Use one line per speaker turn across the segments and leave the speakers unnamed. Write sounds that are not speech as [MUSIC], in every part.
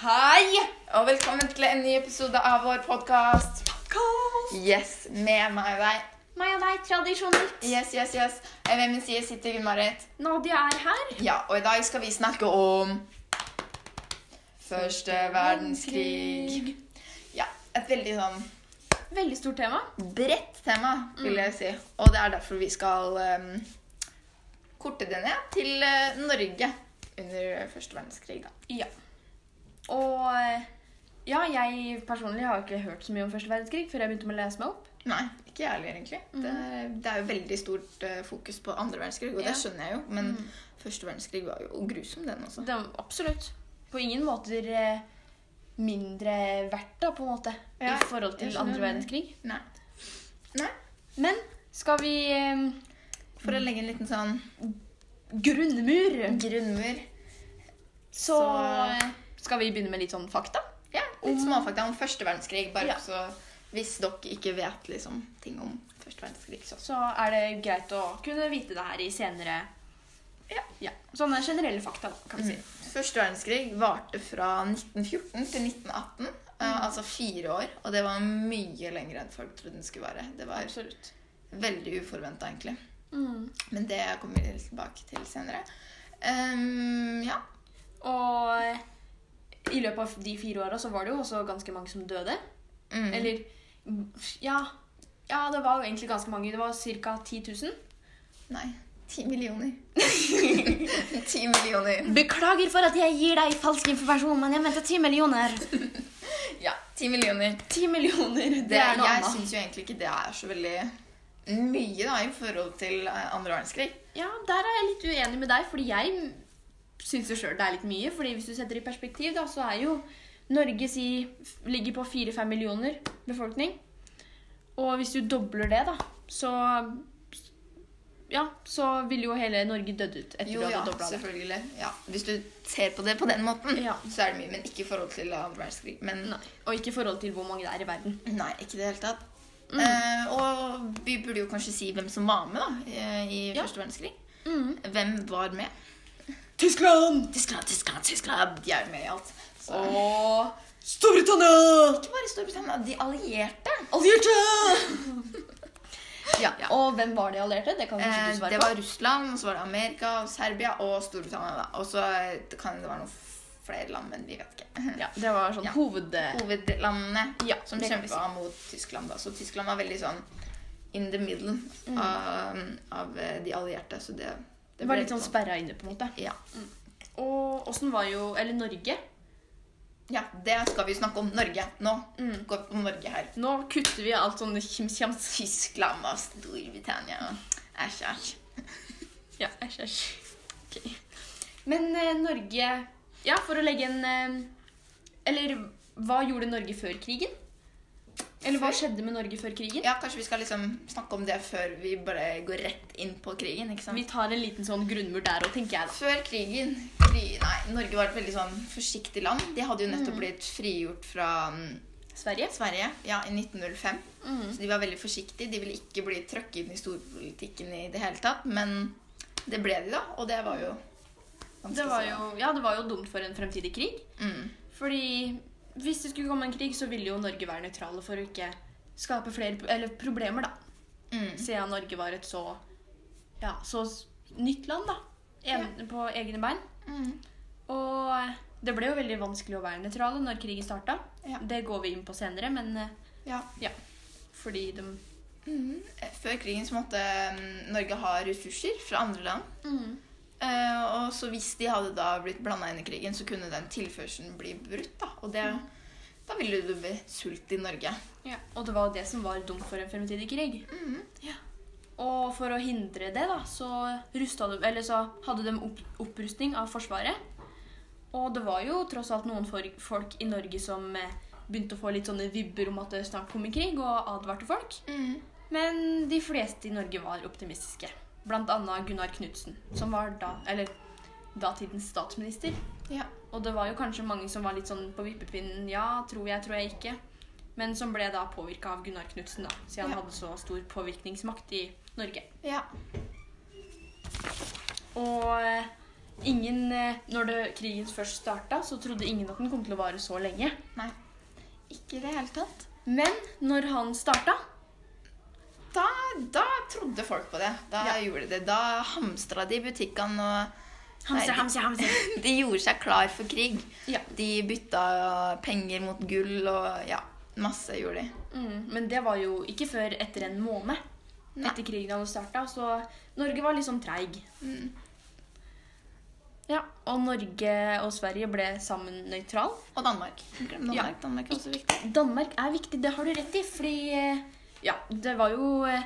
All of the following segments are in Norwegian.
Hei, og velkommen til en ny episode av vår podkast. Yes, med meg og deg.
Meg og deg, tradisjonelt.
Yes, yes, yes. Ved min side sitter Gunn-Marit.
Nadia er her.
Ja, og i dag skal vi snakke om Første verdenskrig. Ja, et veldig sånn
Veldig stort tema.
bredt tema, vil jeg si. Og det er derfor vi skal ehm, korte det ned til eh, Norge under første verdenskrig, da.
Ja. Og eh, ja, jeg personlig har ikke hørt så mye om første verdenskrig før jeg begynte med å lese meg opp.
Nei, ikke jeg heller, egentlig. Det, er, det er jo veldig stort eh, fokus på andre verdenskrig, og
Mhm. Ja. Mhm.
det skjønner jeg jo. Men første verdenskrig var jo grusom, den også.
Det var absolutt på ingen måter eh, mindre verdt, da, på en måte,
Ja,
i forhold
jeg
til
skjønner
andre
det.
verdenskrig.
Nei. Nei.
Men skal vi eh,
For å legge en liten sånn
Grunnmur!
grunnmur.
Så,
Så-
eh, skal vi begynne med litt sånn fakta.
Ja, litt småfakta om første verdenskrig. Bare
Ja.
så hvis dere ikke vet liksom, ting om første verdenskrig, så
Så er det greit å kunne vite det her i senere
Ja.
Sånne generelle fakta, da, kan vi si.
Mm. Første verdenskrig varte fra 1914 til 1918. eh,
Mhm.
altså fire år. Og det var mye lenger enn folk trodde den skulle vare. Det var
Absolutt. Mm.
veldig uforventa, egentlig. Men det kommer vi tilbake til senere. Ehm, ja.
Og i løpet av de fire åra så var det jo også ganske mange som døde.
Mm.
Eller ja, ja, det var jo egentlig ganske mange. Det var ca. 10 000.
Nei. Ti millioner. [LAUGHS] Ti millioner.
Beklager for at jeg gir deg falsk informasjon, men jeg mente 10 millioner.
Ja, ti millioner.
10 millioner, det,
Det,
er noe
jeg
annet.
syns jo egentlig ikke det er så veldig mye da, i forhold til eh, andre verdenskrig.
Ja, der er jeg litt uenig med deg, fordi jeg syns jo sjøl det er litt mye. fordi hvis du setter det i perspektiv, da, så er jo Norge si, f- ligger på 4-5 millioner befolkning. Og hvis du dobler det, da, så Ja, så ville jo hele Norge dødd ut etter
Jo,
du
ja,
hadde dobla det.
selvfølgelig. Ja. Hvis du ser på det på den måten,
Ja.
så er det mye. Men ikke i forhold til andre verdenskrig. Men nei,
Nei, Og ikke i forhold til hvor mange det er i verden.
ikke i det hele tatt.
Mm.
Eh, og vi burde jo kanskje si hvem som var med da, i- i
Ja. Mm.
første verdenskrig. Hvem var med?
Tyskland!
Tyskland, Tyskland, Tyskland! De er jo med i alt. Så.
Og Storbritannia!
Ikke bare Storbritannia, de allierte.
Allierte!
Ja,
Og hvem var de allierte? Det kan kanskje
Eh,
du
det
svare på.
var Russland, og så var det Amerika, og Serbia og Storbritannia. da. Og så eh, det kan det være noen f- flere land, men vi vet ikke.
Ja, det var sånn
Ja.
hoved...
[LAUGHS] Hovedlandene
Ja,
som
det kan vi
kjempa mot Tyskland. da. Så Tyskland var veldig sånn in the middle av, av eh, de allierte. Så det,
Det Mm. var litt sånn sperra inne, på en måte.
Ja.
Og åssen var jo Eller Norge.
ja, det skal vi snakke om. Norge. Nå
Mm.
går vi på Norge her.
Nå kutter vi alt sånn kjimskjams.
Tyskland og Storbritannia. Æsj, æsj.
[LAUGHS] Ja, æsj, æsj. Ok. Men eh, Norge Ja, for å legge en eh, Eller hva gjorde Norge før krigen? Eller hva
Før?
skjedde med Norge før krigen?
Ja, kanskje vi skal liksom snakke om det før vi bare går rett inn på krigen. ikke sant?
Vi tar en liten sånn grunnmur der òg, tenker jeg. da.
Før krigen kri, Nei, Norge var et veldig sånn forsiktig land. De hadde jo
Mm.
nettopp blitt frigjort fra mm,
Sverige?
Sverige ja, i 1905.
Mm.
Så de var veldig forsiktige. De ville ikke bli trøkket inn i storpolitikken i det hele tatt. Men det ble de, da. Og det var jo ganske
Det var
så-
jo, ja, det var jo dumt for en fremtidig krig.
mm.
Fordi hvis det skulle komme en krig, så ville jo Norge være nøytrale for å ikke skape flere pro- eller problemer, da.
Mm.
Siden Norge var et så ja, så s- nytt land, da. En, På egne bein.
Mm.
Og det ble jo veldig vanskelig å være nøytrale når krigen starta.
Ja.
Det går vi inn på senere, men eh,
Ja.
ja. Fordi de
Mm. Før krigen så måtte mm, Norge ha ressurser fra andre land. Eh, og så hvis de hadde da blitt blanda inn i krigen, så kunne den tilførselen bli brutt. Da Og det, da ville det bli sult i Norge.
ja. Og det var jo det som var dumt for en fremtidig krig. Og for å hindre det, da, så, rusta de, eller så hadde de opp, opprustning av Forsvaret. Og det var jo tross alt noen for, folk i Norge som eh, begynte å få litt sånne vibber om at det snart kom en krig, og advarte folk.
Mm.
Men de fleste i Norge var optimistiske. Blant annet Gunnar Knudsen, som var da, eller, datidens statsminister.
Ja.
Og det var jo kanskje mange som var litt sånn på vippepinnen. Ja, tror jeg, tror jeg ikke. Men som ble da påvirka av Gunnar Knudsen, da. Siden
Ja.
han hadde så stor påvirkningsmakt i Norge.
ja.
Og eh, ingen, eh, når det, krigen først starta, så trodde ingen at den kom til å vare så lenge.
Nei. Ikke i det hele tatt.
Men når han starta,
Da, da trodde folk på det. Da
Ja.
gjorde de det. Da hamstra de butikkene, og
Hamse,
Nei,
hamse, hamse.
[LAUGHS] de gjorde seg klar for krig.
Ja.
De bytta penger mot gull, og ja, masse gjorde de.
Mm, men det var jo ikke før etter en måned
Nei.
etter krigen hadde starta, så Norge var litt sånn treig.
Mm.
Ja, og Norge og Sverige ble sammen nøytral.
Og Danmark. Glem Danmark.
Ja.
Danmark er også viktig.
Danmark er viktig, det har du rett i, fordi eh, ja, det var jo eh,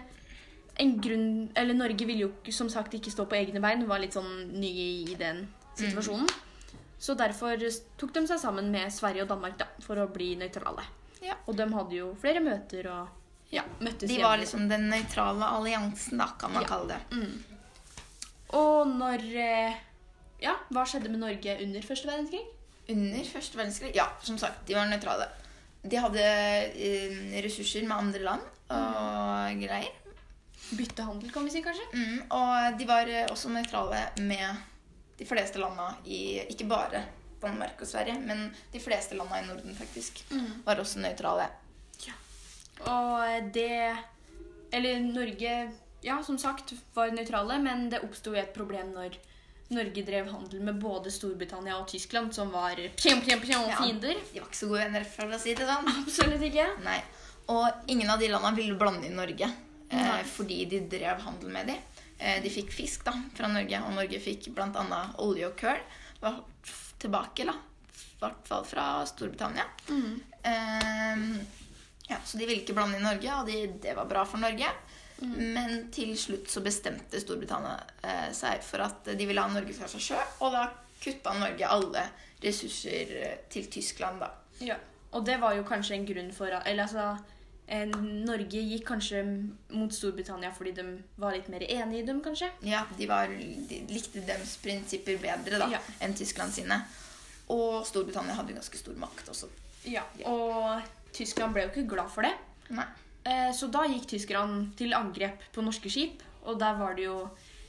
en grunn Eller Norge ville jo ikke- som sagt ikke stå på egne bein, var litt sånn nye i den situasjonen.
Mm.
Så derfor tok de seg sammen med Sverige og Danmark da, for å bli nøytrale.
Ja.
Og de hadde jo flere møter og ja, møttes
De
jevnlig.
var liksom den nøytrale alliansen, da, kan man
Ja.
kalle det.
Mm. Og når eh, Ja, hva skjedde med Norge under første verdenskrig?
Under første verdenskrig? Ja, som sagt, de var nøytrale. De hadde eh, ressurser med andre land
Mm.
og greier.
Byttehandel, kan vi si, kanskje?
Mm, og de var eh, også nøytrale med de fleste landa i Ikke bare Danmark og Sverige, men de fleste landa i Norden faktisk
Mm.
var også nøytrale.
Og eh, det Eller Norge, ja, som sagt, var nøytrale, men det oppsto jo et problem når Norge drev handel med både Storbritannia og Tyskland, som var pjom, pjom, pjom,
Ja.
fiender.
De var ikke så gode venner, for å si det
[LAUGHS]
sånn.
Absolutt ikke.
Nei. Og ingen av de landa ville blande inn Norge eh,
Nei.
fordi de drev handel med de. Eh, de fikk fisk da, fra Norge, og Norge fikk bl.a. olje og kull. Var f- tilbake, da. I hvert fall fra Storbritannia. Eh, ja, så de ville ikke blande inn Norge, og de, det var bra for Norge. Men til slutt så bestemte Storbritannia eh, seg for at de ville ha Norge for seg sjøl, og da kutta Norge alle ressurser eh, til Tyskland, da.
Ja. Og det var jo kanskje en grunn for Eller altså eh, Norge gikk kanskje mot Storbritannia fordi de var litt mer enig i dem, kanskje.
Ja, de, var, de likte deres prinsipper bedre da,
Ja.
enn Tyskland sine. Og Storbritannia hadde jo ganske stor makt også.
Ja. Og Tyskland ble jo ikke glad for det.
Nei.
Eh, Så da gikk tyskerne til angrep på norske skip, og der var det jo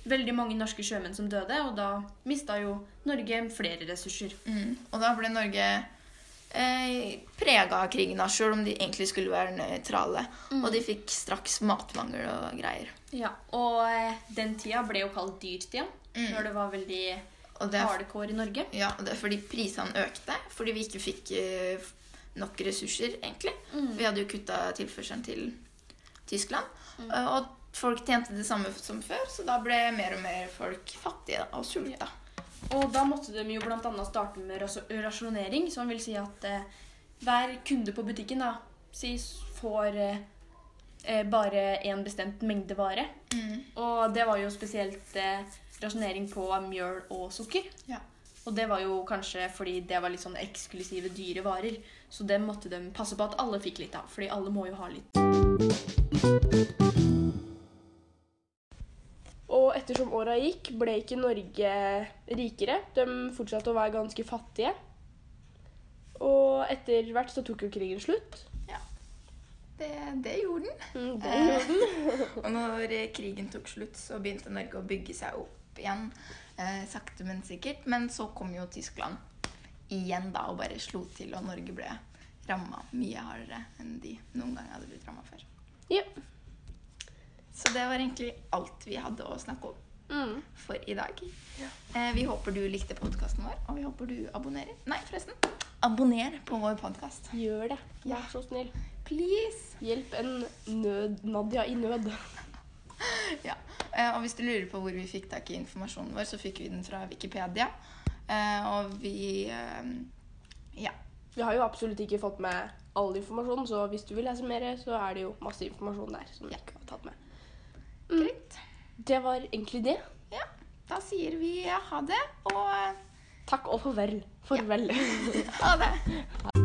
veldig mange norske sjømenn som døde, og da mista jo Norge flere ressurser.
Mm. Og da ble Norge eh, prega av krigen, da, sjøl om de egentlig skulle være nøytrale. Og de fikk straks matmangel og greier.
Ja, Og eh, den tida ble jo kalt dyrtida, når det var veldig
Og det,
hardcore i Norge.
ja, og det er fordi prisene økte, fordi vi ikke fikk eh, f- nok ressurser, egentlig. Vi hadde jo kutta tilførselen til Tyskland. Eh, Og folk tjente det samme som før, så da ble mer og mer folk fattige da, og sulta.
Og da måtte de jo bl.a. starte med ras- rasjonering, som vil si at eh, hver kunde på butikken da, si, får eh, eh, bare én bestemt mengde vare.
Mm.
Og det var jo spesielt eh, rasjonering på mjøl og sukker.
Ja.
Og det var jo kanskje fordi det var litt sånn eksklusive, dyre varer. Så det måtte de passe på at alle fikk litt av, fordi alle må jo ha litt.
Og ettersom åra gikk, ble ikke Norge rikere. De fortsatte å være ganske fattige. Og etter hvert så tok jo krigen slutt.
Det, det gjorde den.
Mm,
det [LAUGHS] Og når eh, krigen tok slutt, så begynte Norge å bygge seg opp igjen. Eh, sakte, men sikkert. Men så kom jo Tyskland igjen da og bare slo til, og Norge ble ramma mye hardere enn de noen gang hadde blitt ramma før.
Ja.
Så det var egentlig alt vi hadde å snakke om
Mm.
for i dag. Eh, vi håper du likte podkasten vår, og vi håper du abonnerer. Nei, forresten. Abonner på vår podkast.
Gjør det.
Ja.
Vær så snill.
Please!
Hjelp en nød... Nadia i nød.
Ja. eh, Og hvis du lurer på hvor vi fikk tak i informasjonen vår, så fikk vi den fra Wikipedia. Eh, Og vi eh, Ja.
Vi har jo absolutt ikke fått med all informasjon, så hvis du vil lese mer, så er det jo masse informasjon der som vi ikke har tatt med. Mm.
Greit.
Det var egentlig det.
Ja. Da sier vi ha det, og eh,
Takk og farvel. Farvel.
ha det.
Ha